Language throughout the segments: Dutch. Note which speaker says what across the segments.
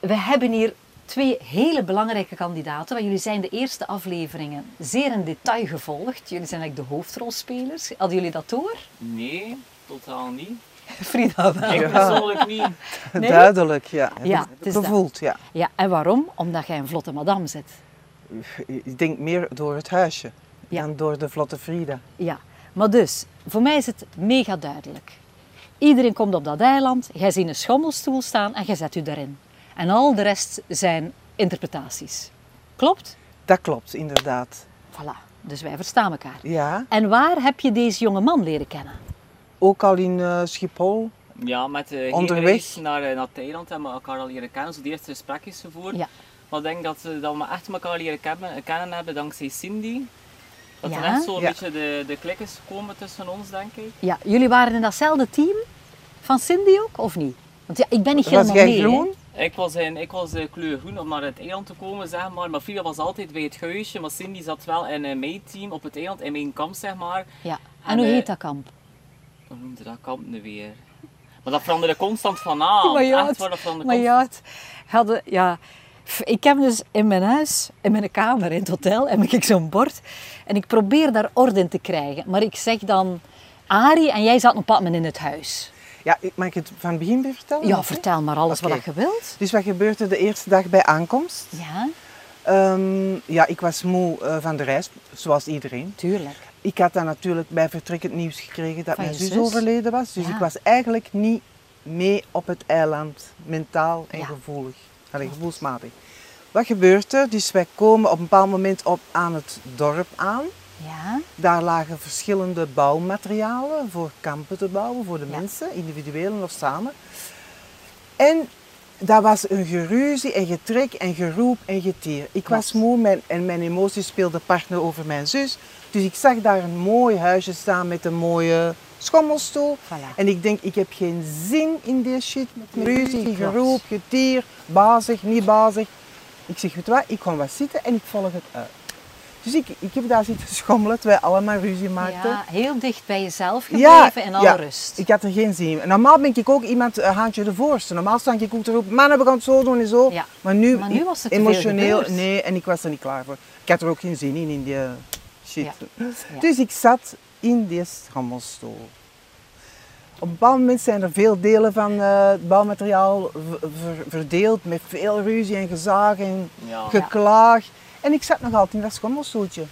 Speaker 1: We hebben hier twee hele belangrijke kandidaten, want jullie zijn de eerste afleveringen zeer in detail gevolgd. Jullie zijn eigenlijk de hoofdrolspelers. Hadden jullie dat door?
Speaker 2: Nee, totaal niet.
Speaker 1: Frida wel.
Speaker 2: Ik persoonlijk niet.
Speaker 1: Nee?
Speaker 3: Duidelijk, ja. Heb
Speaker 1: Ja,
Speaker 3: ik
Speaker 1: het is dat.
Speaker 3: gevoeld, ja.
Speaker 1: Ja, en waarom? Omdat jij een vlotte madame zit.
Speaker 3: Ik denk meer door het huisje
Speaker 1: Ja.
Speaker 3: dan door de vlotte Frida.
Speaker 1: Ja, maar dus, voor mij is het mega duidelijk. Iedereen komt op dat eiland, jij ziet een schommelstoel staan en jij zet u daarin. En al de rest zijn interpretaties. Klopt?
Speaker 3: Dat klopt, inderdaad.
Speaker 1: Voilà, dus wij verstaan elkaar.
Speaker 3: Ja,
Speaker 1: En waar heb je deze jonge man leren kennen?
Speaker 3: ook al in eh, Schiphol.
Speaker 2: Ja, met de
Speaker 3: Onderweg.
Speaker 2: reis naar, eh, naar Thailand hebben we elkaar al leren kennen. Zo de eerste gesprekjes gevoerd.
Speaker 1: Ja.
Speaker 2: Maar ik denk dat, eh, dat we echt elkaar leren kennen, kennen hebben dankzij Cindy. Dat
Speaker 1: Ja.
Speaker 2: er echt zo'n
Speaker 3: Ja.
Speaker 2: beetje de, de klik is gekomen tussen ons, denk ik.
Speaker 1: Ja, jullie waren in datzelfde team van Cindy ook, of niet? Want ja, ik ben niet
Speaker 3: Was
Speaker 1: helemaal
Speaker 3: jij
Speaker 1: mee. hè.
Speaker 3: groen?
Speaker 2: Ik was, in, ik was eh, kleur groen om naar het eiland te komen, zeg maar. Maar Frida was altijd bij het huisje, maar Cindy zat wel in eh, mijn team op het eiland, in mijn kamp, zeg maar.
Speaker 1: Ja. En,
Speaker 2: En,
Speaker 1: hoe
Speaker 2: eh,
Speaker 1: heet dat kamp?
Speaker 2: Hoe noemde dat kamp nu weer? Maar dat veranderde constant van naam.
Speaker 1: Maar ja,
Speaker 2: echt
Speaker 1: het-
Speaker 2: waar, dat veranderde
Speaker 1: Maar
Speaker 2: constant.
Speaker 1: ja, het Oh hadden, ja. F- Ik heb dus in mijn huis, in mijn kamer, in het hotel, heb ik zo'n bord. En ik probeer daar orde in te krijgen. Maar ik zeg dan, Arie, en jij zat nog een bepaald moment in het huis.
Speaker 3: Ja, ik- mag ik het van het begin weer vertellen?
Speaker 1: Ja,
Speaker 3: Oké.
Speaker 1: vertel maar alles
Speaker 3: Oké.
Speaker 1: wat je wilt.
Speaker 3: Dus wat gebeurde de eerste dag bij aankomst?
Speaker 1: Ja,
Speaker 3: Ehm, ja, ik was moe eh, van de reis, zoals iedereen.
Speaker 1: tuurlijk.
Speaker 3: Ik had dan natuurlijk bij vertrek het nieuws gekregen dat
Speaker 1: Van
Speaker 3: mijn
Speaker 1: je
Speaker 3: zus,
Speaker 1: zus?
Speaker 3: overleden was. Dus
Speaker 1: Ja.
Speaker 3: ik was eigenlijk niet mee op het eiland, mentaal en
Speaker 1: Ja.
Speaker 3: gevoelig. Allee, gevoelsmatig. Wat gebeurt er? Dus wij komen op een bepaald moment op aan het dorp aan.
Speaker 1: Ja,
Speaker 3: Daar lagen verschillende bouwmaterialen voor kampen te bouwen, voor de
Speaker 1: Ja.
Speaker 3: mensen, individueel of samen. En dat was een geruzie en getrek en geroep en getier. Ik was
Speaker 1: Klopt.
Speaker 3: moe mijn, en mijn emoties speelden partner over mijn zus. Dus ik zag daar een mooi huisje staan met een mooie schommelstoel.
Speaker 1: Voilà.
Speaker 3: En ik denk, ik heb geen zin in deze shit met ruzie,
Speaker 1: Klopt.
Speaker 3: geroep, getier, bazig, niet bazig. Ik zeg, weet je wat, ik kom wat zitten en ik volg het uit. Dus ik, ik heb daar zitten schommelen, terwijl we allemaal ruzie maakten.
Speaker 1: ja heel dicht bij jezelf
Speaker 3: Ja,
Speaker 1: gebleven en al
Speaker 3: ja.
Speaker 1: rust.
Speaker 3: Ik had er geen zin in. Normaal ben ik ook iemand een haantje de voorste. Normaal sta ik ook te roepen, mannen, we gaan het zo doen en zo.
Speaker 1: Ja.
Speaker 3: Maar nu,
Speaker 1: Maar nu was er te veel
Speaker 3: emotioneel,
Speaker 1: gebeurd.
Speaker 3: nee, en ik was er niet klaar voor. Ik had er ook geen zin in, in die eh, shit.
Speaker 1: Ja. Ja.
Speaker 3: Dus ik zat in die schommelstoel. Op een bepaald moment zijn er veel delen van eh, het bouwmateriaal v- ver- verdeeld met veel ruzie en gezaag en
Speaker 2: Ja.
Speaker 3: geklaag. En ik zat nog altijd in dat schommelstoeltje.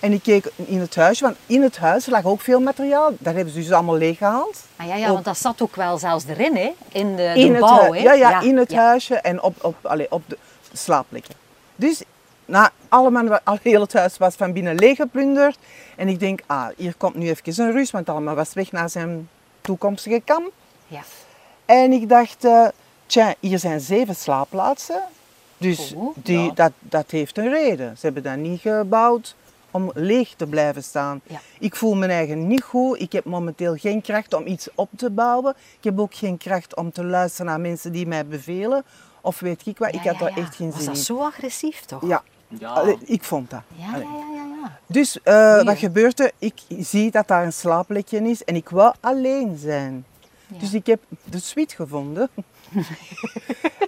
Speaker 3: En ik keek in het huis, want in het huis lag ook veel materiaal. Dat hebben ze dus allemaal leeggehaald.
Speaker 1: Ah, ja, ja,
Speaker 3: Ook-
Speaker 1: want dat zat ook wel zelfs erin, hè? In de, eh, de
Speaker 3: in het
Speaker 1: bouw,
Speaker 3: hui-
Speaker 1: hè?
Speaker 3: ja, ja, in het
Speaker 1: ja.
Speaker 3: huisje en op, op, allee, op de slaapplekken. Dus na allemaal, al heel het huis was van binnen leeggeplunderd. En ik denk, ah, hier komt nu even een rust, want allemaal was weg naar zijn toekomstige kamp.
Speaker 1: Ja.
Speaker 3: En ik dacht, eh tja, hier zijn zeven slaapplaatsen. Dus
Speaker 1: Oh,
Speaker 3: die,
Speaker 2: ja.
Speaker 3: dat, dat heeft een reden. Ze hebben dat niet gebouwd om leeg te blijven staan.
Speaker 1: Ja.
Speaker 3: Ik voel mijn eigen niet goed. Ik heb momenteel geen kracht om iets op te bouwen. Ik heb ook geen kracht om te luisteren naar mensen die mij bevelen. Of weet ik wat,
Speaker 1: Ja,
Speaker 3: ik had
Speaker 1: ja,
Speaker 3: daar
Speaker 1: ja.
Speaker 3: echt geen
Speaker 1: Was
Speaker 3: zin
Speaker 1: dat zo agressief, toch?
Speaker 3: in. Ja,
Speaker 2: Ja.
Speaker 3: Allee, ik vond dat.
Speaker 1: Ja, ja,
Speaker 3: Allee.
Speaker 1: ja, ja, ja.
Speaker 3: Dus eh,
Speaker 1: Moeilijk.
Speaker 3: wat gebeurt er? Ik zie dat daar een slaapplekje is en ik wou alleen zijn.
Speaker 1: Ja.
Speaker 3: Dus ik heb de suite gevonden.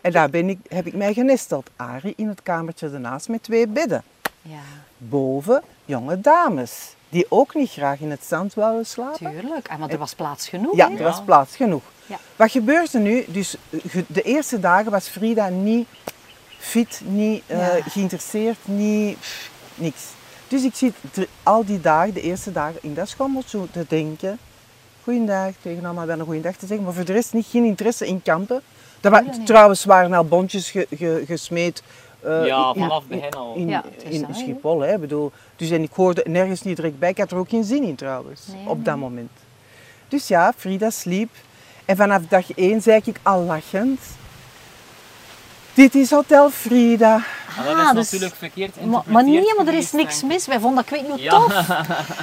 Speaker 3: en daar ben ik, heb ik mij genesteld. Arie in het kamertje ernaast met twee bedden.
Speaker 1: Ja,
Speaker 3: Boven jonge dames, die ook niet graag in het zand wouden slapen.
Speaker 1: tuurlijk. En want er was plaats genoeg.
Speaker 3: Ja,
Speaker 1: hè?
Speaker 3: er was plaats genoeg.
Speaker 1: Ja.
Speaker 3: Wat gebeurde nu? Dus eh, ge- de eerste dagen was Frida niet fit, niet eh,
Speaker 1: Ja.
Speaker 3: geïnteresseerd, niet pff, niks. Dus ik zit dr- al die dagen, de eerste dagen, in dat schommeltje te denken. Goeiedag, tegen allemaal wel een goeiedag te zeggen, maar voor de rest niet, geen interesse in kampen. Dat wa-
Speaker 1: dat niet.
Speaker 3: trouwens waren al bondjes ge- ge- gesmeed. eh,
Speaker 2: Ja,
Speaker 3: in- in-
Speaker 2: vanaf het begin al.
Speaker 3: In,
Speaker 1: Ja, het is
Speaker 3: in
Speaker 1: dat, hè.
Speaker 3: Schiphol, hè, bedoel. Dus en ik hoorde nergens niet direct bij. Ik had er ook geen zin in trouwens,
Speaker 1: Nee,
Speaker 3: op
Speaker 1: nee.
Speaker 3: dat moment. Dus ja, Frida sliep. En vanaf dag één zei ik al lachend... Dit is Hotel Frida.
Speaker 2: En Ah, dat is
Speaker 1: dus-
Speaker 2: natuurlijk verkeerd
Speaker 1: Maar,
Speaker 2: interpreteerd
Speaker 1: maar nee, maar er is
Speaker 2: geweest,
Speaker 1: niks
Speaker 2: denk ik.
Speaker 1: mis. Wij vonden dat ik weet niet hoe
Speaker 2: Ja.
Speaker 1: tof.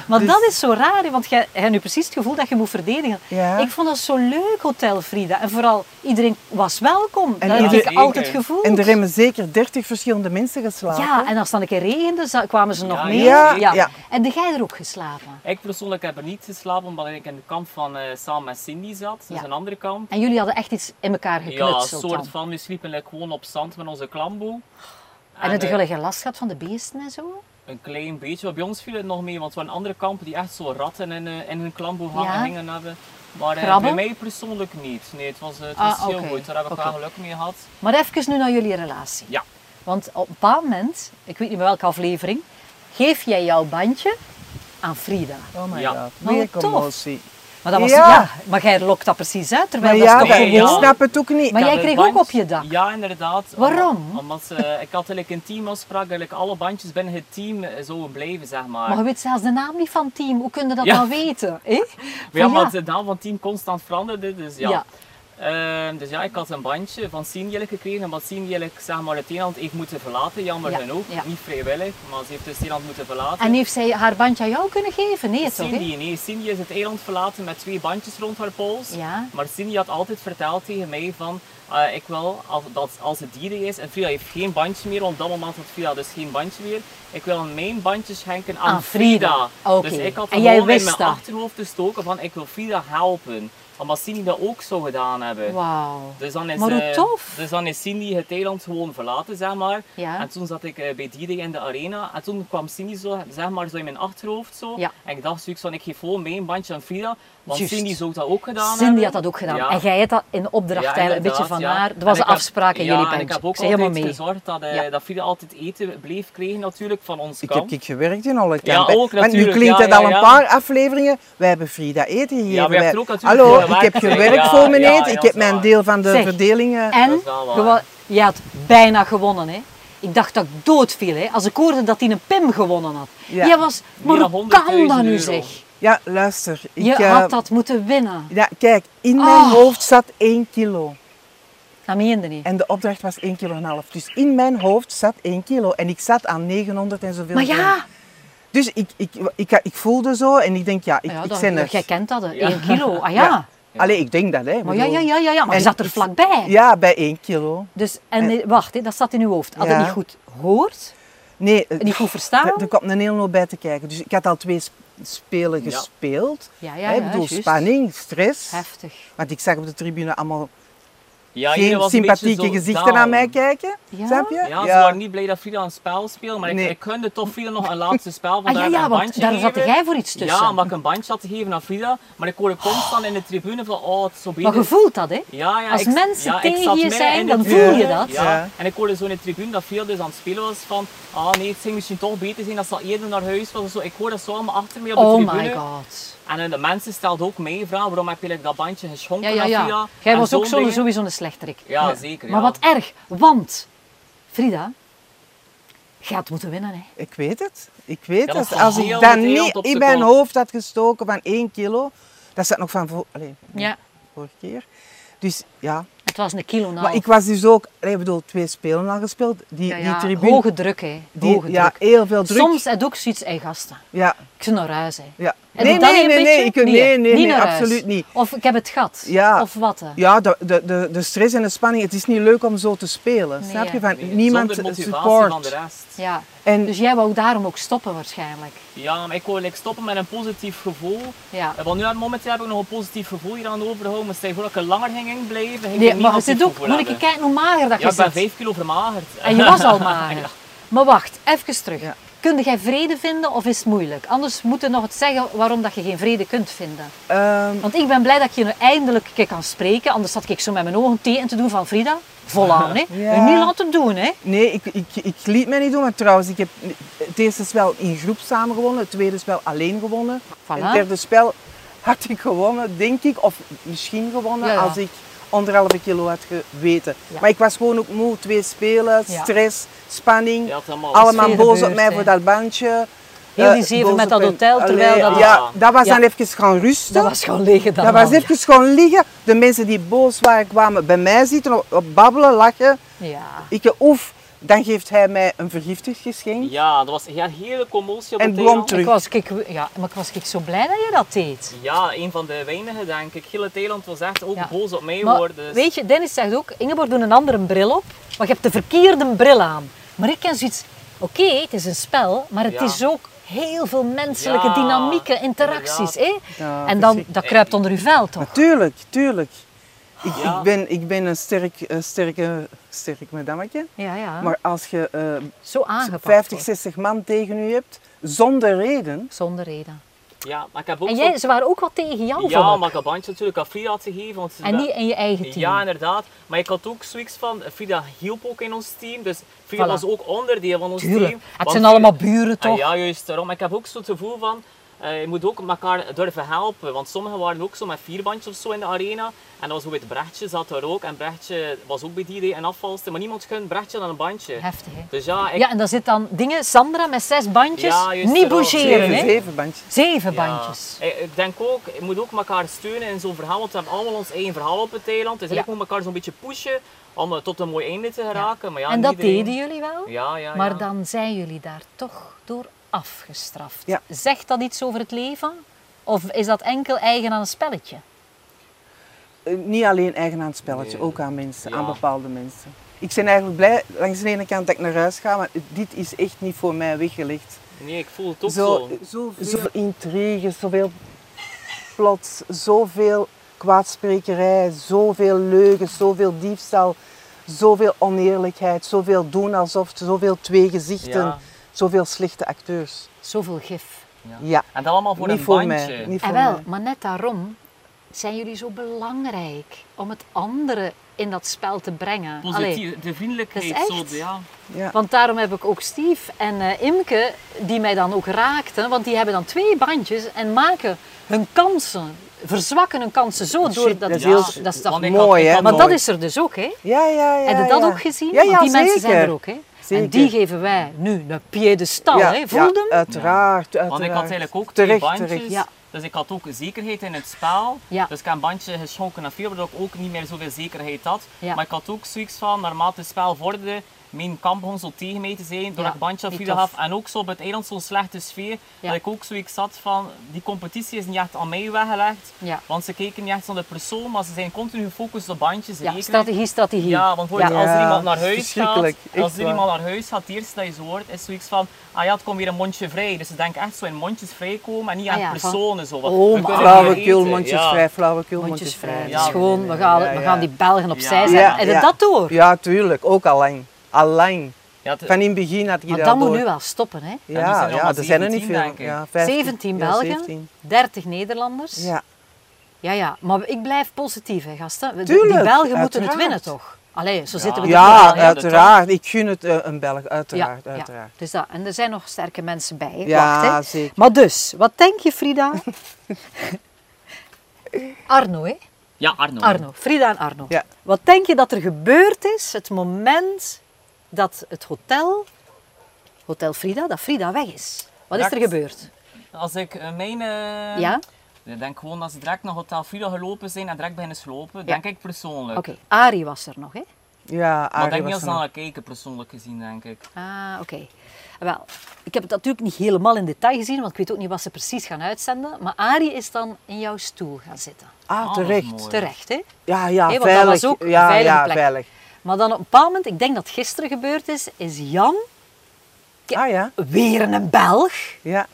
Speaker 1: Maar
Speaker 3: Dus-
Speaker 1: dat is zo raar, hè, want jij jij hebt nu precies het gevoel dat je moet verdedigen.
Speaker 3: Ja.
Speaker 1: Ik vond dat zo leuk, Hotel Frida. En vooral, iedereen was welkom.
Speaker 3: En
Speaker 1: dat heb
Speaker 3: ieder-
Speaker 1: ik altijd
Speaker 2: Zeker.
Speaker 1: gevoeld.
Speaker 3: En er hebben zeker 30 verschillende mensen geslapen.
Speaker 1: Ja, en als het dan een keer regende, za- kwamen ze nog
Speaker 2: Ja,
Speaker 1: meer.
Speaker 3: ja, ja.
Speaker 1: En de jij er ook geslapen?
Speaker 2: Ik persoonlijk heb er niet geslapen, omdat ik in de kamp van eh Sam en Cindy zat. Dus
Speaker 1: Ja.
Speaker 2: een andere kamp.
Speaker 1: En jullie hadden echt iets in elkaar
Speaker 2: Ja, een
Speaker 1: geknutseld
Speaker 2: soort
Speaker 1: dan.
Speaker 2: van. We sliepen like, gewoon op zand met onze klamboe.
Speaker 1: En het
Speaker 2: eh,
Speaker 1: jullie geen last gehad van de beesten en zo?
Speaker 2: Een klein beetje. Maar Bij ons viel het nog mee, want we hadden andere kampen die echt zo ratten in, eh, in hun klamboe hangen,
Speaker 1: Ja.
Speaker 2: hingen hebben. Maar eh,
Speaker 1: Krabben?
Speaker 2: bij mij persoonlijk niet. Nee, het was, eh, het
Speaker 1: Ah,
Speaker 2: was heel
Speaker 1: oké.
Speaker 2: goed. Daar heb ik
Speaker 1: Oké.
Speaker 2: wel geluk mee gehad.
Speaker 1: Maar even nu naar jullie relatie.
Speaker 2: Ja.
Speaker 1: Want op een bepaald moment, ik weet niet meer welke aflevering, geef jij jouw bandje aan Frida.
Speaker 3: Oh my
Speaker 2: Ja.
Speaker 3: god,
Speaker 1: Maar
Speaker 3: weer
Speaker 1: wat Nou, tof.
Speaker 3: commotie.
Speaker 1: Maar, dat was, ja.
Speaker 3: Ja.
Speaker 1: maar jij lokt dat precies uit,
Speaker 3: Maar
Speaker 1: terwijl
Speaker 3: ja,
Speaker 1: dat is
Speaker 3: dat-
Speaker 1: toch
Speaker 2: nee,
Speaker 3: ik
Speaker 1: gewoon...
Speaker 2: ja.
Speaker 3: snap het ook niet.
Speaker 1: Maar
Speaker 2: Ik
Speaker 1: jij
Speaker 2: had een
Speaker 1: kreeg ook
Speaker 2: band-
Speaker 1: op je dak?
Speaker 2: Ja, inderdaad.
Speaker 1: Waarom?
Speaker 2: Omdat, omdat eh, ik had eigenlijk een teamafspraak dat ik alle bandjes binnen het team eh, zouden blijven, zeg maar.
Speaker 1: Maar je weet zelfs de naam niet van het team. Hoe kun je dat
Speaker 2: Ja.
Speaker 1: nou weten? hè?
Speaker 2: Maar ja,
Speaker 1: Van ja.
Speaker 2: want de naam van het team constant veranderde, dus ja.
Speaker 1: Ja.
Speaker 2: Ehm, dus ja, ik had een bandje van Sienjelk gekregen, en wat Sienjelk zeg maar het Nederland heeft moeten verlaten, jammer
Speaker 1: Ja,
Speaker 2: genoeg.
Speaker 1: ja.
Speaker 2: Niet vrijwillig, maar ze heeft dus Nederland moeten verlaten.
Speaker 1: En heeft zij haar bandje aan jou kunnen geven? Nee, toch? hè?
Speaker 2: Cindy, nee, Cindy is het eiland verlaten met twee bandjes rond haar pols.
Speaker 1: Ja.
Speaker 2: Maar Cindy had altijd verteld tegen mij van, eh, ik wil als, dat als het dieren is, en Frida heeft geen bandje meer, want op dat moment had Frida dus geen bandje meer, ik wil mijn bandje schenken aan,
Speaker 1: Aan Frida. Oké.
Speaker 2: Dus ik had
Speaker 1: En
Speaker 2: en
Speaker 1: jij
Speaker 2: gewoon in
Speaker 1: wist dat?
Speaker 2: mijn achterhoofd gestoken van, ik wil Frida helpen. Omdat Cindy dat ook zou gedaan hebben.
Speaker 1: Wauw.
Speaker 2: Dus dan is,
Speaker 1: Maar hoe
Speaker 2: eh,
Speaker 1: tof.
Speaker 2: Dus dan is Cindy het eiland gewoon verlaten, zeg maar.
Speaker 1: Ja.
Speaker 2: En toen zat ik eh, bij D-Day in de arena. En toen kwam Cindy zo, zeg maar, zo in mijn achterhoofd zo.
Speaker 1: Ja.
Speaker 2: En ik dacht zoiets van, ik geef gewoon mijn bandje aan Frida. Want
Speaker 1: Juist.
Speaker 2: Cindy zou dat ook gedaan
Speaker 1: Cindy
Speaker 2: hebben.
Speaker 1: had dat ook gedaan.
Speaker 2: Ja.
Speaker 1: En jij hebt dat in opdracht
Speaker 2: Ja,
Speaker 1: eigenlijk een beetje
Speaker 2: inderdaad,
Speaker 1: van
Speaker 2: ja.
Speaker 1: haar. Er
Speaker 2: En
Speaker 1: was
Speaker 2: ik
Speaker 1: een
Speaker 2: heb-
Speaker 1: afspraak in
Speaker 2: ja,
Speaker 1: jullie
Speaker 2: en
Speaker 1: bandje.
Speaker 2: ik heb ook
Speaker 1: Ze helemaal
Speaker 2: altijd
Speaker 1: mee.
Speaker 2: gezorgd dat, eh,
Speaker 1: Ja.
Speaker 2: dat Frida altijd eten bleef krijgen natuurlijk van ons
Speaker 3: Ik
Speaker 2: kamp.
Speaker 3: heb ik gewerkt in alle
Speaker 2: Ja,
Speaker 3: kampen.
Speaker 2: ook
Speaker 3: Want nu
Speaker 2: natuurlijk.
Speaker 3: klinkt
Speaker 2: Ja,
Speaker 3: het al
Speaker 2: ja,
Speaker 3: een
Speaker 2: ja.
Speaker 3: paar afleveringen. Wij hebben Frida eten gegeven.
Speaker 2: hebt
Speaker 3: Wij-
Speaker 2: er ook natuurlijk
Speaker 3: Hallo, ik
Speaker 2: gewerkt,
Speaker 3: heb
Speaker 2: hè.
Speaker 3: gewerkt
Speaker 2: Ja,
Speaker 3: voor mijn
Speaker 2: ja,
Speaker 3: eet.
Speaker 2: ja,
Speaker 3: ik
Speaker 2: dat
Speaker 3: heb
Speaker 2: is
Speaker 3: mijn
Speaker 2: waar.
Speaker 3: deel van de
Speaker 1: Zeg.
Speaker 3: verdelingen.
Speaker 1: En
Speaker 2: Dat is wel waar.
Speaker 1: je wa- je had bijna gewonnen. Hè? Ik dacht dat ik dood viel. Hè? Als ik hoorde dat hij een Pim gewonnen had.
Speaker 3: Ja.
Speaker 1: Jij was, maar
Speaker 2: Meer
Speaker 1: hoe
Speaker 2: dan
Speaker 1: kan dat
Speaker 2: 100.000
Speaker 1: nu
Speaker 2: euro.
Speaker 1: zeg?
Speaker 3: Ja, luister. Ik,
Speaker 1: Je
Speaker 3: eh,
Speaker 1: had dat moeten winnen.
Speaker 3: ja, kijk, in mijn
Speaker 1: Oh.
Speaker 3: hoofd zat 1 kilo.
Speaker 1: Dat meende niet.
Speaker 3: En de opdracht was 1 kilo en een half. Dus in mijn hoofd zat 1 kilo. En ik zat aan 900 en zoveel
Speaker 1: Maar
Speaker 3: gram.
Speaker 1: ja,
Speaker 3: Dus ik, ik, ik, ik, voelde zo en ik denk, ja, ik,
Speaker 1: ja
Speaker 3: ik
Speaker 1: dat-
Speaker 3: ben
Speaker 1: ja,
Speaker 3: er.
Speaker 1: jij kent dat, hè.
Speaker 2: Ja.
Speaker 1: 1 kilo. Ah ja.
Speaker 3: Ja. Allee, ik denk dat, hè.
Speaker 1: Maar ja, ja,
Speaker 3: bedoel.
Speaker 1: ja, ja, ja. maar je
Speaker 3: En
Speaker 1: zat er
Speaker 3: ik-
Speaker 1: vlakbij.
Speaker 3: Ja, bij 1 kilo.
Speaker 1: Dus, en, eh, wacht, hè, dat zat in uw hoofd. Had je
Speaker 3: Ja.
Speaker 1: niet goed hoort,
Speaker 3: Nee, eh,
Speaker 1: niet goed verstaan.
Speaker 3: Er, er kwam een hele hoop bij te kijken. Dus ik had al twee sp- spelen
Speaker 2: Ja.
Speaker 3: gespeeld.
Speaker 1: Ja, ja,
Speaker 3: Hè, ik
Speaker 1: ja,
Speaker 3: bedoel,
Speaker 1: juist.
Speaker 3: spanning, stress.
Speaker 1: Heftig.
Speaker 3: Want ik zag op de tribune allemaal
Speaker 2: Ja, iedereen was
Speaker 3: geen
Speaker 2: een beetje
Speaker 3: sympathieke
Speaker 2: zo
Speaker 3: gezichten
Speaker 2: down.
Speaker 3: naar mij kijken.
Speaker 1: Ja?
Speaker 3: Snap je?
Speaker 2: Ja, ze waren niet blij dat Frida een spel speelde, maar ik,
Speaker 3: Nee.
Speaker 2: ik gunde toch Frida nog een laatste spel.
Speaker 1: Ah,
Speaker 2: Want
Speaker 1: ja,
Speaker 2: daar heb ik
Speaker 1: ja,
Speaker 2: een
Speaker 1: want
Speaker 2: bandje
Speaker 1: daar zat
Speaker 2: gegeven.
Speaker 1: jij voor iets tussen.
Speaker 2: Ja, omdat ik een bandje had gegeven aan Frida, maar ik hoorde constant in de tribune van, oh, het is zo
Speaker 1: Maar
Speaker 2: beter.
Speaker 1: je voelt dat, hè?
Speaker 2: Ja, ja,
Speaker 1: Als
Speaker 2: ik-
Speaker 1: mensen
Speaker 2: ja, ik
Speaker 1: tegen
Speaker 2: zat
Speaker 1: je
Speaker 2: midden
Speaker 1: zijn,
Speaker 2: in de
Speaker 1: dan
Speaker 2: tribune.
Speaker 1: voel je dat.
Speaker 2: Ja.
Speaker 3: Ja.
Speaker 2: En ik hoorde zo in de tribune dat veel dus aan het spelen was van ah nee, het zou misschien toch beter zijn als dat eerder naar huis was. of Zo. Ik hoorde dat zo allemaal achter me op de
Speaker 1: Oh
Speaker 2: tribune.
Speaker 1: my god.
Speaker 2: En eh, de mensen stelden ook mij vragen waarom heb je like, dat bandje geschonken
Speaker 1: Ja, ja,
Speaker 2: aan
Speaker 1: ja.
Speaker 2: Frida.
Speaker 1: Jij
Speaker 2: En
Speaker 1: was ook zo,
Speaker 2: dingen.
Speaker 1: sowieso een slechterik.
Speaker 2: Ja, zeker,
Speaker 1: Maar
Speaker 2: ja.
Speaker 1: wat erg, want Frida, je had moeten winnen, hè?
Speaker 3: Ik weet het. Ik weet
Speaker 2: Ja, dat
Speaker 3: het.
Speaker 2: is
Speaker 3: Als
Speaker 2: heel
Speaker 3: ik
Speaker 2: met
Speaker 3: dat
Speaker 2: heel
Speaker 3: niet
Speaker 2: op de
Speaker 3: in mijn
Speaker 2: kont.
Speaker 3: hoofd had gestoken van 1 kilo, dat zat nog van voor, allee,
Speaker 1: Ja. Nou.
Speaker 3: vorige keer. Dus ja,
Speaker 1: Het was een kilo na.
Speaker 3: maar ik was dus ook, allee, ik bedoel, twee spelen al gespeeld. Die,
Speaker 1: ja, ja,
Speaker 3: die tribune,
Speaker 1: Hoge druk, hè?
Speaker 3: die-
Speaker 1: Hoge
Speaker 3: ja,
Speaker 1: druk.
Speaker 3: heel veel druk.
Speaker 1: Soms heb je ook zoiets en gasten.
Speaker 3: Ja,
Speaker 1: Ik zou naar huis, hè?
Speaker 3: ja.
Speaker 1: En
Speaker 3: nee,
Speaker 1: doet dat
Speaker 3: nee,
Speaker 1: een
Speaker 3: nee,
Speaker 1: beetje?
Speaker 3: nee, ik, nee, nee,
Speaker 1: hè?
Speaker 3: nee,
Speaker 1: Niet naar huis.
Speaker 3: absoluut niet.
Speaker 1: Of ik heb het gat.
Speaker 3: Ja.
Speaker 1: Of wat, hè?
Speaker 3: Ja, de, de, de, de stress en de spanning, het is niet leuk om zo te spelen.
Speaker 1: Nee,
Speaker 3: snap
Speaker 1: ja.
Speaker 3: je? Van,
Speaker 2: Nee,
Speaker 3: niemand
Speaker 2: Zonder motivatie
Speaker 3: support.
Speaker 2: van de rest.
Speaker 1: Ja.
Speaker 3: En
Speaker 1: Dus jij wou daarom ook stoppen, waarschijnlijk.
Speaker 2: Ja, maar ik wou like, stoppen met een positief gevoel.
Speaker 1: Ja.
Speaker 2: Eh, Want nu aan het moment heb ik nog een positief gevoel hier aan overgehouden. Maar stel je voor dat ik er langer ging inblijven, ging ik
Speaker 1: Nee, maar
Speaker 2: een
Speaker 1: je
Speaker 2: negatief
Speaker 1: zit ook,
Speaker 2: gevoel
Speaker 1: moet ik
Speaker 2: hebben.
Speaker 1: kijken hoe mager dat
Speaker 2: Ja,
Speaker 1: je
Speaker 2: ik ben
Speaker 1: zit.
Speaker 2: 5 kilo vermagerd.
Speaker 1: En je was al mager. Maar wacht, even terug.
Speaker 3: Ja.
Speaker 1: Kun jij vrede vinden of is het moeilijk? Anders moet je nog het zeggen waarom dat je geen vrede kunt vinden.
Speaker 3: ehm,
Speaker 1: Want ik ben blij dat ik je nu eindelijk een keer kan spreken. Anders had ik zo met mijn ogen thee in te doen van Frida. Volaan, hè.
Speaker 3: Ja.
Speaker 1: En niet laten doen, hè.
Speaker 3: Nee, ik, ik, ik liet mij niet doen. Want trouwens, ik heb het eerste spel in groep samen gewonnen. Het tweede spel alleen gewonnen.
Speaker 1: Voilà.
Speaker 3: Het derde spel had ik gewonnen, denk ik. Of misschien gewonnen
Speaker 1: Ja, ja.
Speaker 3: als ik anderhalve kilo had geweten.
Speaker 1: Ja.
Speaker 3: Maar ik was gewoon ook moe. Twee spelen,
Speaker 1: Ja.
Speaker 3: stress, spanning.
Speaker 2: Je had allemaal
Speaker 3: allemaal
Speaker 1: veel
Speaker 3: boos
Speaker 1: gebeurd,
Speaker 3: op mij
Speaker 1: hè.
Speaker 3: voor dat bandje.
Speaker 1: Heel die
Speaker 3: Eh,
Speaker 1: zeven
Speaker 3: boos
Speaker 1: met
Speaker 3: op
Speaker 1: dat
Speaker 3: hem.
Speaker 1: hotel, terwijl
Speaker 3: Allee,
Speaker 1: dat-
Speaker 2: Ah.
Speaker 3: Ja, dat was
Speaker 1: Ja.
Speaker 3: dan even gaan rusten.
Speaker 1: Dat was gewoon liggen dan.
Speaker 3: Dat was
Speaker 1: al.
Speaker 3: even dus gewoon liggen. De mensen die boos waren kwamen bij mij zitten, op- op babbelen, lachen.
Speaker 1: Ja.
Speaker 3: Ik, eh, oef, Dan geeft hij mij een vergiftigd geschenk.
Speaker 2: Ja, dat was ja, een hele commotie op
Speaker 3: En
Speaker 2: het
Speaker 3: Blom
Speaker 2: eiland.
Speaker 3: terug.
Speaker 1: Ik was, ik, ja, maar ik was ik zo blij dat je dat deed.
Speaker 2: Ja, een van de weinigen, denk ik. Gillet Eiland was echt ook
Speaker 1: Ja.
Speaker 2: boos op mij
Speaker 1: Maar,
Speaker 2: worden. dus-
Speaker 1: Weet je, Dennis zegt ook, Ingeborg doet een andere bril op, maar je hebt de verkeerde bril aan. Maar ik ken zoiets, oké, het is een spel, maar het
Speaker 2: Ja.
Speaker 1: is ook heel veel menselijke
Speaker 2: Ja,
Speaker 1: dynamieken, interacties. Hè?
Speaker 3: Ja,
Speaker 1: en dan,
Speaker 3: precies.
Speaker 1: dat kruipt onder uw vel toch?
Speaker 3: Tuurlijk, tuurlijk. Ik,
Speaker 2: Ja.
Speaker 3: ik, ben, ik ben een sterk, een sterke, sterk madammetje.
Speaker 1: Ja, ja.
Speaker 3: Maar als je eh,
Speaker 1: zo Ah. aangepakt
Speaker 3: 50,
Speaker 1: wordt.
Speaker 3: 60 man tegen je hebt, zonder reden.
Speaker 1: Zonder reden.
Speaker 2: Ja, maar ik heb ook
Speaker 1: En
Speaker 2: zo-
Speaker 1: jij, ze waren ook wat tegen jou,
Speaker 2: Ja,
Speaker 1: vond ik.
Speaker 2: maar ik heb bandje natuurlijk aan Frida had gegeven. Want ze-
Speaker 1: En niet in je eigen team.
Speaker 2: Ja, inderdaad. Maar ik had ook zoiets van, Frida hielp ook in ons team. Dus Frida
Speaker 1: Voilà.
Speaker 2: was ook onderdeel van ons
Speaker 1: Tuurlijk.
Speaker 2: team.
Speaker 1: Het
Speaker 2: want
Speaker 1: zijn
Speaker 2: Frida-
Speaker 1: allemaal buren,
Speaker 2: Ah,
Speaker 1: toch?
Speaker 2: ja, juist daarom. Maar ik heb ook zo het gevoel van, eh, je moet ook elkaar durven helpen. Want sommigen waren ook zo met vier bandjes of zo in de arena. En dat was bijvoorbeeld Brechtje zat daar ook. En Brechtje was ook bij die idee en afvalste. Maar niemand gunt Brechtje aan een bandje.
Speaker 1: Heftig, hè?
Speaker 2: Dus ja, ik...
Speaker 1: Ja, en dan zit dan dingen, Sandra met zes bandjes,
Speaker 2: Ja, juist
Speaker 1: niet
Speaker 2: daarom.
Speaker 1: bougeren,
Speaker 3: Zeven,
Speaker 1: hè?
Speaker 3: zeven bandjes.
Speaker 1: Zeven
Speaker 2: ja.
Speaker 1: bandjes.
Speaker 2: Ik, ik denk ook, je moet ook elkaar steunen in zo'n verhaal, want we hebben allemaal ons eigen verhaal op het eiland. Dus
Speaker 1: Ja.
Speaker 2: ik moet elkaar zo'n beetje pushen om eh, tot een mooi einde te geraken. Maar ja,
Speaker 1: en dat
Speaker 2: niet iedereen-
Speaker 1: deden jullie wel?
Speaker 2: Ja, ja,
Speaker 1: Maar
Speaker 2: ja.
Speaker 1: dan zijn jullie daar toch door afgestraft.
Speaker 3: Ja.
Speaker 1: Zegt dat iets over het leven? Of is dat enkel eigen aan een spelletje?
Speaker 3: Eh, niet alleen eigen aan het spelletje,
Speaker 2: Nee.
Speaker 3: ook aan mensen,
Speaker 2: Ja.
Speaker 3: aan bepaalde mensen. Ik ben eigenlijk blij, langs de ene kant dat ik naar huis ga, maar dit is echt niet voor mij weggelegd.
Speaker 2: Nee, ik voel het ook zo.
Speaker 3: Zo, eh, zoveel intrigue, zoveel plots, zoveel kwaadsprekerij, zoveel leugens, zoveel diefstal, zoveel oneerlijkheid, zoveel doen alsof, zoveel twee gezichten,
Speaker 2: Ja.
Speaker 3: zoveel slechte acteurs.
Speaker 1: Zoveel gif.
Speaker 2: Ja.
Speaker 3: Ja,
Speaker 2: En dat allemaal voor
Speaker 3: niet
Speaker 2: een
Speaker 3: voor
Speaker 2: bandje.
Speaker 3: mij. Niet
Speaker 1: En
Speaker 3: voor
Speaker 1: Ah, wel,
Speaker 3: mij.
Speaker 1: maar net daarom zijn jullie zo belangrijk om het andere in dat spel te brengen. Allee,
Speaker 2: Positief, de vriendelijkheid.
Speaker 1: Dat is
Speaker 2: Zo,
Speaker 1: echt.
Speaker 2: ja.
Speaker 3: Ja.
Speaker 1: want daarom heb ik ook Steve en eh, Imke, die mij dan ook raakten, want die hebben dan twee bandjes en maken hun kansen, verzwakken hun kansen zo door
Speaker 3: Shit,
Speaker 1: dat,
Speaker 3: dat is
Speaker 2: heel-
Speaker 1: dat is toch
Speaker 2: want ik had-
Speaker 3: mooi,
Speaker 2: ik
Speaker 3: hè?
Speaker 2: had
Speaker 1: Maar dat
Speaker 2: nooit-
Speaker 1: is er dus ook, hè?
Speaker 3: Ja, ja, ja.
Speaker 1: Heb je dat
Speaker 3: ja.
Speaker 1: ook gezien?
Speaker 3: Ja, ja,
Speaker 1: Want die mensen zijn er
Speaker 3: zeker.
Speaker 1: ook, hè? En
Speaker 3: Zeker.
Speaker 1: die geven wij nu een piedestal,
Speaker 3: Ja, eh,
Speaker 1: hè? Voel
Speaker 3: ja,
Speaker 1: hem?
Speaker 3: Uiteraard, uiteraard.
Speaker 2: Want ik had eigenlijk ook
Speaker 3: Terecht,
Speaker 2: twee bandjes.
Speaker 3: terecht.
Speaker 1: Ja.
Speaker 2: Dus ik had ook zekerheid in het spel.
Speaker 1: Ja.
Speaker 2: Dus ik heb een bandje geschonken aan Phil, waardoor ik ook niet meer zoveel zekerheid had.
Speaker 1: Ja.
Speaker 2: Maar ik had ook zoiets van, naarmate het spel vorderde, mijn kamp begon zo tegen mij te zijn, door
Speaker 1: Ja,
Speaker 2: ik een bandje aan
Speaker 1: niet
Speaker 2: Phil
Speaker 1: tof.
Speaker 2: gaf. En ook zo op het eiland zo'n slechte sfeer,
Speaker 1: Ja.
Speaker 2: dat ik ook zoiets had van, die competitie is niet echt aan mij weggelegd.
Speaker 1: Ja.
Speaker 2: Want ze keken niet echt naar de persoon, maar ze zijn continu gefocust op bandjes.
Speaker 1: Ja,
Speaker 2: rekenen.
Speaker 1: strategie, strategie.
Speaker 2: Ja, want voor- als er
Speaker 3: Ja,
Speaker 2: iemand naar
Speaker 3: dat is
Speaker 2: huis gaat,
Speaker 3: verschrikkelijk.
Speaker 2: als
Speaker 3: Echt
Speaker 2: er
Speaker 3: waar.
Speaker 2: iemand naar huis gaat, het eerste dat je zo hoort, is zoiets van, ah ja, het komt weer een mondje vrij. Dus ze denken echt zo in mondjes vrij komen en niet
Speaker 1: Ah
Speaker 2: aan
Speaker 1: ja, van-
Speaker 2: personen. Zo. wat.
Speaker 1: Oh,
Speaker 2: We
Speaker 1: maar-
Speaker 2: kunnen niet
Speaker 3: Flauwekul,
Speaker 2: eten,
Speaker 3: mondjes
Speaker 2: ja.
Speaker 3: vrij, flauwekul,
Speaker 1: Mondjes vrij. Het
Speaker 2: Ja,
Speaker 1: is
Speaker 2: nee,
Speaker 1: gewoon, we gaan,
Speaker 3: ja,
Speaker 1: we
Speaker 3: ja.
Speaker 1: gaan die Belgen opzij
Speaker 2: Ja.
Speaker 1: zetten.
Speaker 3: Ja,
Speaker 1: Heb je
Speaker 3: ja.
Speaker 1: dat door?
Speaker 3: Ja, tuurlijk. Ook allang. Allang.
Speaker 2: Ja, het-
Speaker 3: Van in het begin had je
Speaker 1: Maar
Speaker 3: dat
Speaker 1: dat
Speaker 3: door.
Speaker 1: moet nu wel stoppen, hè?
Speaker 2: En die zijn
Speaker 3: Ja,
Speaker 2: er
Speaker 3: ja,
Speaker 2: allemaal
Speaker 3: er zijn er niet
Speaker 2: 17,
Speaker 3: veel.
Speaker 2: denk ik.
Speaker 3: Ja,
Speaker 1: 17
Speaker 3: ja,
Speaker 1: Belgen,
Speaker 3: 17.
Speaker 1: 30 Nederlanders.
Speaker 3: Ja.
Speaker 1: ja, ja. Maar ik blijf positief, hè, gasten. We-
Speaker 3: Tuurlijk,
Speaker 1: die Belgen moeten het
Speaker 3: uiteraard.
Speaker 1: winnen, toch? Allee, zo zitten we
Speaker 2: Ja,
Speaker 3: Ja,
Speaker 2: dat
Speaker 3: uiteraard. Ik gun het eh, een Belg, uiteraard.
Speaker 1: ja.
Speaker 3: uiteraard.
Speaker 1: Dus dat. En er zijn nog sterke mensen bij. hè.
Speaker 3: Ja,
Speaker 1: Wacht, hè.
Speaker 3: zeker.
Speaker 1: Maar dus, wat denk je, Frida? Arno, hè?
Speaker 2: Ja, Arno.
Speaker 1: Arno, Frida en Arno.
Speaker 3: Ja.
Speaker 1: Wat denk je dat er gebeurd is het moment dat het hotel, Hotel Frida, dat Frida weg is? Wat is er
Speaker 2: Direct.
Speaker 1: gebeurd?
Speaker 2: Als ik eh, mijn... eh,
Speaker 1: Ja?
Speaker 2: Ik denk gewoon dat ze direct naar Hotel Frida gelopen zijn en direct beginnen slopen, denk ik persoonlijk.
Speaker 1: Oké, Ari was er nog, hè?
Speaker 3: Ja,
Speaker 2: Maar
Speaker 3: Arie
Speaker 2: ik denk niet
Speaker 3: was
Speaker 2: als ze
Speaker 3: er nog.
Speaker 2: naar kijken, persoonlijk gezien, denk ik.
Speaker 1: Ah, oké. Wel, ik heb het natuurlijk niet helemaal in detail gezien, want ik weet ook niet wat ze precies gaan uitzenden. Maar Ari is dan in jouw stoel gaan zitten.
Speaker 3: Ah,
Speaker 2: Ah, dat is
Speaker 3: terecht.
Speaker 2: mooi.
Speaker 1: Terecht, hè?
Speaker 3: Ja, ja,
Speaker 1: Hé, want dat
Speaker 3: veilig.
Speaker 1: was ook een
Speaker 3: ja,
Speaker 1: veilige
Speaker 3: ja,
Speaker 1: plek.
Speaker 3: veilig.
Speaker 1: Maar dan op een bepaald moment, ik denk dat het gisteren gebeurd is, is Jan, Ja.
Speaker 3: Ah ja,
Speaker 1: weer een Belg.
Speaker 3: ja,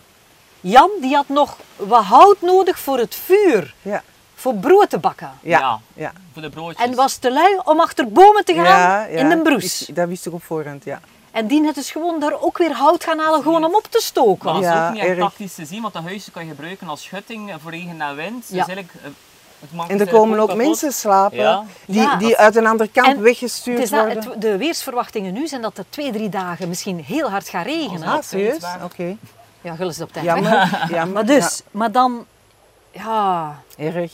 Speaker 1: Jan die had nog wat hout nodig voor het vuur,
Speaker 3: ja,
Speaker 1: voor brood te bakken.
Speaker 3: ja. ja.
Speaker 2: Voor de broodjes.
Speaker 1: En was te lui om achter bomen te gaan
Speaker 3: Ja, ja.
Speaker 1: in de
Speaker 3: Ik-
Speaker 1: broes.
Speaker 3: Dat wist ik op voorhand, ja.
Speaker 1: En die het dus gewoon daar ook weer hout gaan halen, gewoon om op te stoken.
Speaker 2: Maar dat is
Speaker 3: Ja,
Speaker 2: ook niet echt
Speaker 3: erg.
Speaker 2: praktisch te zien, want dat huisje kan je gebruiken als schutting eh, voor regen en wind. Dus
Speaker 1: Ja.
Speaker 2: eigenlijk, eh, het maakt
Speaker 3: En
Speaker 2: het
Speaker 3: er
Speaker 2: eigenlijk
Speaker 3: komen ook
Speaker 2: kapot.
Speaker 3: mensen slapen
Speaker 2: Ja.
Speaker 3: die,
Speaker 1: Ja.
Speaker 3: die uit een ander kamp
Speaker 1: En
Speaker 3: weggestuurd
Speaker 1: Het is dat,
Speaker 3: worden.
Speaker 1: het- de weersverwachtingen nu zijn dat er twee, drie dagen misschien heel hard gaat regenen.
Speaker 2: Ah,
Speaker 3: Ah, serieus?
Speaker 2: Oké.
Speaker 3: Oké.
Speaker 1: Ja, gullen ze het op tijd. weg.
Speaker 3: Jammer, jammer.
Speaker 1: Maar dus, maar dan... Ja,
Speaker 3: Ja, erg.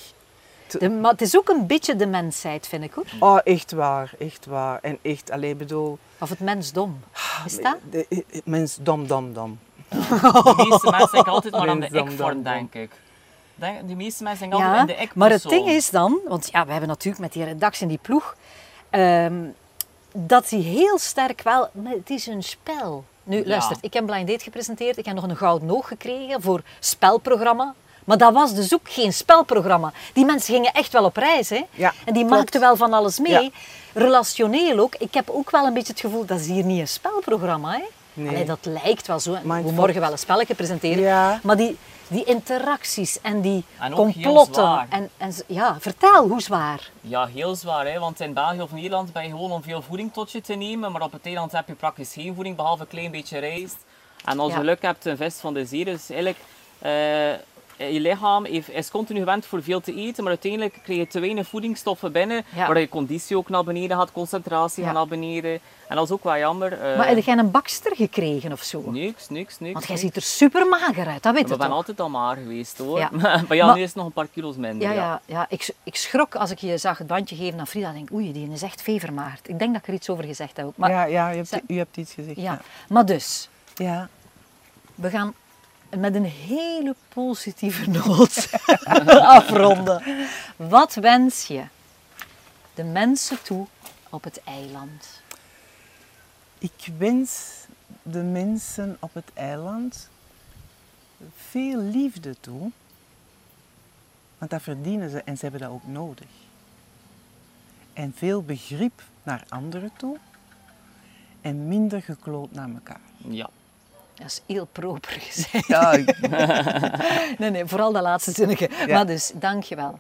Speaker 1: de, maar het is ook een beetje de mensheid, vind ik hoor.
Speaker 3: Oh, echt waar, echt waar. En echt, alleen bedoel,
Speaker 1: Of het mensdom. Is dat?
Speaker 3: de- de- mens dom, dom, dom.
Speaker 2: De meeste mensen denken altijd maar aan de
Speaker 3: Dum, dum,
Speaker 2: ik-vorm,
Speaker 3: dum,
Speaker 2: denk ik. Denk- De meeste mensen denken altijd
Speaker 1: Ja,
Speaker 2: aan de ik
Speaker 1: maar het ding is dan, want ja, we hebben natuurlijk met die redactie en die ploeg, ehm, dat zie heel sterk wel, maar het is een spel. Nu,
Speaker 2: Ja.
Speaker 1: luister, ik heb Blind Date gepresenteerd. Ik heb nog een gouden oog gekregen voor spelprogramma. Maar dat was dus ook geen spelprogramma. Die mensen gingen echt wel op reis, hè?
Speaker 3: Ja,
Speaker 1: en die
Speaker 3: klopt.
Speaker 1: maakten wel van alles mee.
Speaker 3: Ja.
Speaker 1: Relationeel ook. Ik heb ook wel een beetje het gevoel, dat is hier niet een spelprogramma, hè?
Speaker 3: Nee.
Speaker 1: Allee, dat lijkt wel zo. We
Speaker 3: Mindfuck.
Speaker 1: morgen wel een spelletje presenteren.
Speaker 3: Ja.
Speaker 1: Maar die, die interacties en die
Speaker 2: En ook heel
Speaker 1: complotten.
Speaker 2: zwaar.
Speaker 1: En, en, z- ja, vertel, hoe zwaar?
Speaker 2: Ja, heel zwaar, hè? want in België of Nederland ben je gewoon om veel voeding tot je te nemen, maar op het eiland heb je praktisch geen voeding, behalve een klein beetje rijst. En als
Speaker 1: Ja.
Speaker 2: je geluk hebt, een vis van de zee. Dus eigenlijk, eh, je lichaam heeft, is continu gewend voor veel te eten, maar uiteindelijk krijg je te weinig voedingsstoffen binnen,
Speaker 1: Ja.
Speaker 2: waardoor je conditie ook naar beneden gaat, concentratie
Speaker 1: Ja.
Speaker 2: gaat naar beneden. En dat is ook wel jammer. eh,
Speaker 1: Maar heb jij een bakster gekregen of zo?
Speaker 2: Niks, niks, niks.
Speaker 1: Want jij
Speaker 2: niks.
Speaker 1: ziet er super mager uit, dat weet
Speaker 2: We
Speaker 1: ik
Speaker 2: zijn
Speaker 1: toch?
Speaker 2: altijd al maar geweest hoor.
Speaker 1: Ja.
Speaker 2: maar ja,
Speaker 1: Maar-
Speaker 2: nu is het nog een paar kilo's minder.
Speaker 1: Ja, ja, ja. Ik, ik schrok als ik je zag het bandje geven aan Frida. Ik denk, oei, die is echt vevermaagd. Ik denk dat ik er iets over gezegd heb. ook. Maar, ja.
Speaker 3: ja, ja, u hebt,
Speaker 1: Ze-
Speaker 3: u hebt iets gezegd. Ja.
Speaker 1: maar dus,
Speaker 3: ja.
Speaker 1: we gaan met een hele positieve noot afronden. Wat wens je de mensen toe op het eiland?
Speaker 3: Ik wens de mensen op het eiland veel liefde toe. Want dat verdienen ze en ze hebben dat ook nodig. En veel begrip naar anderen toe. En minder gekloot naar elkaar.
Speaker 2: ja.
Speaker 1: Dat is heel proper gezegd.
Speaker 3: Ja, ik-
Speaker 1: Nee, nee, vooral dat laatste zinnetje.
Speaker 3: Ja.
Speaker 1: Maar dus, dankjewel.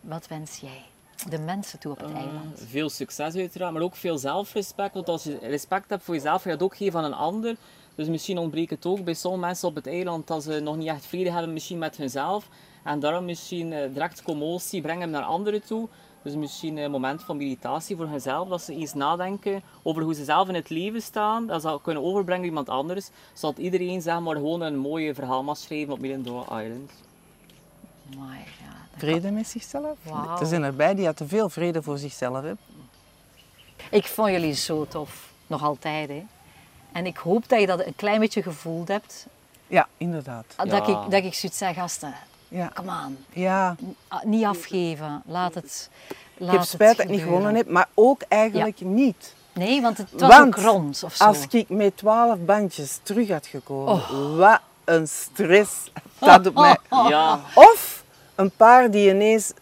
Speaker 1: Wat wens jij de mensen toe op
Speaker 3: Eh.
Speaker 1: het eiland?
Speaker 2: Veel succes uiteraard, maar ook veel zelfrespect. Want als je respect hebt voor jezelf, ga je het ook geven aan een ander. Dus misschien ontbreekt het ook bij sommige mensen op het eiland dat ze nog niet echt vrede hebben misschien met hunzelf. En daarom misschien eh, direct commotie brengen naar anderen toe. Dus misschien een moment van meditatie voor hunzelf, dat ze eens nadenken over hoe ze zelf in het leven staan. Dat ze dat kunnen overbrengen aan iemand anders. Zodat iedereen zeg maar, gewoon een mooie verhaal mag schrijven op Middendorp Island.
Speaker 1: Amai, ja,
Speaker 3: vrede met zichzelf.
Speaker 1: Wauw.
Speaker 3: Er zijn erbij die te veel vrede voor zichzelf hebben.
Speaker 1: Ik vond jullie zo tof. Nog altijd, hè. En ik hoop dat je dat een klein beetje gevoeld hebt.
Speaker 3: Ja, inderdaad.
Speaker 1: Dat,
Speaker 2: Ja.
Speaker 1: ik, dat ik zoiets zeg, gasten,
Speaker 3: Ja.
Speaker 1: come on.
Speaker 3: ja.
Speaker 1: Ah, Niet afgeven. Laat het laat
Speaker 3: Ik heb
Speaker 1: het
Speaker 3: spijt dat ik niet
Speaker 1: gebeuren.
Speaker 3: gewonnen heb, maar ook eigenlijk niet.
Speaker 1: Nee, want het was
Speaker 3: Want
Speaker 1: ook rond of zo.
Speaker 3: Als ik met twaalf bandjes terug had gekomen,
Speaker 1: Oh.
Speaker 3: wat een stress dat op mij.
Speaker 2: Ja,
Speaker 3: Of een paar die ineens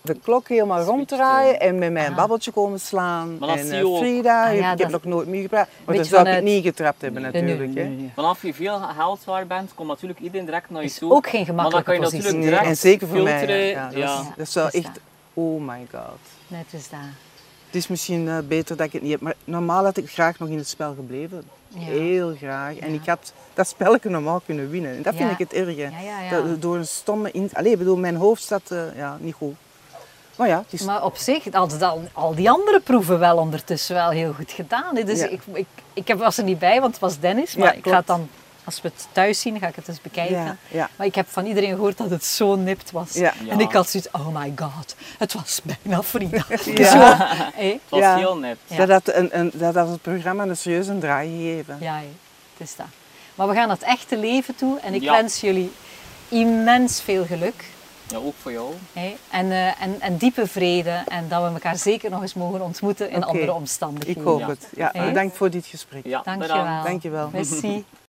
Speaker 3: de klok helemaal ronddraaien en met mij een babbeltje komen slaan.
Speaker 2: Maar dat
Speaker 3: en
Speaker 2: zie
Speaker 3: eh,
Speaker 2: je ook.
Speaker 3: Frida,
Speaker 1: Ah, ja,
Speaker 3: ik
Speaker 1: dat-
Speaker 3: heb nog nooit meer gepraat. Maar
Speaker 1: Beetje
Speaker 3: dan zou ik het
Speaker 1: vanuit-
Speaker 3: niet getrapt hebben
Speaker 1: Nee, nee,
Speaker 3: natuurlijk.
Speaker 1: nee,
Speaker 3: hè.
Speaker 1: nee.
Speaker 2: Vanaf je veel geldwaar bent, komt natuurlijk iedereen direct naar je
Speaker 1: Is
Speaker 2: toe.
Speaker 1: ook geen gemakkelijke
Speaker 2: Maar dan kan je
Speaker 1: positie.
Speaker 2: natuurlijk
Speaker 3: Nee,
Speaker 2: direct
Speaker 3: En zeker voor mij.
Speaker 2: filteren.
Speaker 3: ja. Ja, dat,
Speaker 2: ja.
Speaker 3: Is,
Speaker 1: Ja,
Speaker 3: dat zou
Speaker 1: dat is
Speaker 3: echt,
Speaker 1: dat.
Speaker 3: oh my god.
Speaker 1: Net is dat.
Speaker 3: Het is misschien eh, beter dat ik het niet heb, maar normaal had ik graag nog in het spel gebleven.
Speaker 1: Ja.
Speaker 3: Heel graag. En
Speaker 1: Ja.
Speaker 3: ik had dat spelletje normaal kunnen winnen. En dat vind
Speaker 1: Ja.
Speaker 3: ik het erge.
Speaker 1: Ja, ja, ja.
Speaker 3: Dat, eh, door een stomme... In... Allee, ik bedoel, mijn hoofd staat eh, ja, niet goed. Maar ja, het is...
Speaker 1: Maar op zich hadden ze al, al die andere proeven wel ondertussen wel heel goed gedaan. hè. Dus
Speaker 3: Ja.
Speaker 1: ik, ik, ik heb- was er niet bij, want het was Dennis. Maar
Speaker 3: Ja,
Speaker 1: ik ga
Speaker 3: klopt.
Speaker 1: het dan, als we het thuis zien, ga ik het eens bekijken.
Speaker 3: Ja, ja.
Speaker 1: Maar ik heb van iedereen gehoord dat het zo nipt was.
Speaker 3: Ja.
Speaker 1: En ik
Speaker 2: Ja.
Speaker 1: had zoiets, oh my god, het was bijna Frida.
Speaker 3: Ja.
Speaker 1: Zo, hè?
Speaker 2: Het was
Speaker 3: Ja.
Speaker 2: heel net.
Speaker 1: Ja.
Speaker 3: Dat, had een, een, dat had het programma een serieuze draai gegeven.
Speaker 1: Ja, hè. het is dat. Maar we gaan het echte leven toe. En ik
Speaker 2: Ja.
Speaker 1: wens jullie immens veel geluk.
Speaker 2: Ja, ook voor jou.
Speaker 1: hè. En, eh, en, en diepe vrede. En dat we elkaar zeker nog eens mogen ontmoeten in
Speaker 3: Oké.
Speaker 1: andere
Speaker 3: Ik
Speaker 1: omstandigheden.
Speaker 3: hoop
Speaker 2: Ja.
Speaker 3: het. Ja,
Speaker 1: Hè?
Speaker 3: bedankt voor dit gesprek.
Speaker 2: Ja,
Speaker 1: Dank je
Speaker 2: bedankt.
Speaker 1: wel.
Speaker 3: Dankjewel.
Speaker 1: Merci.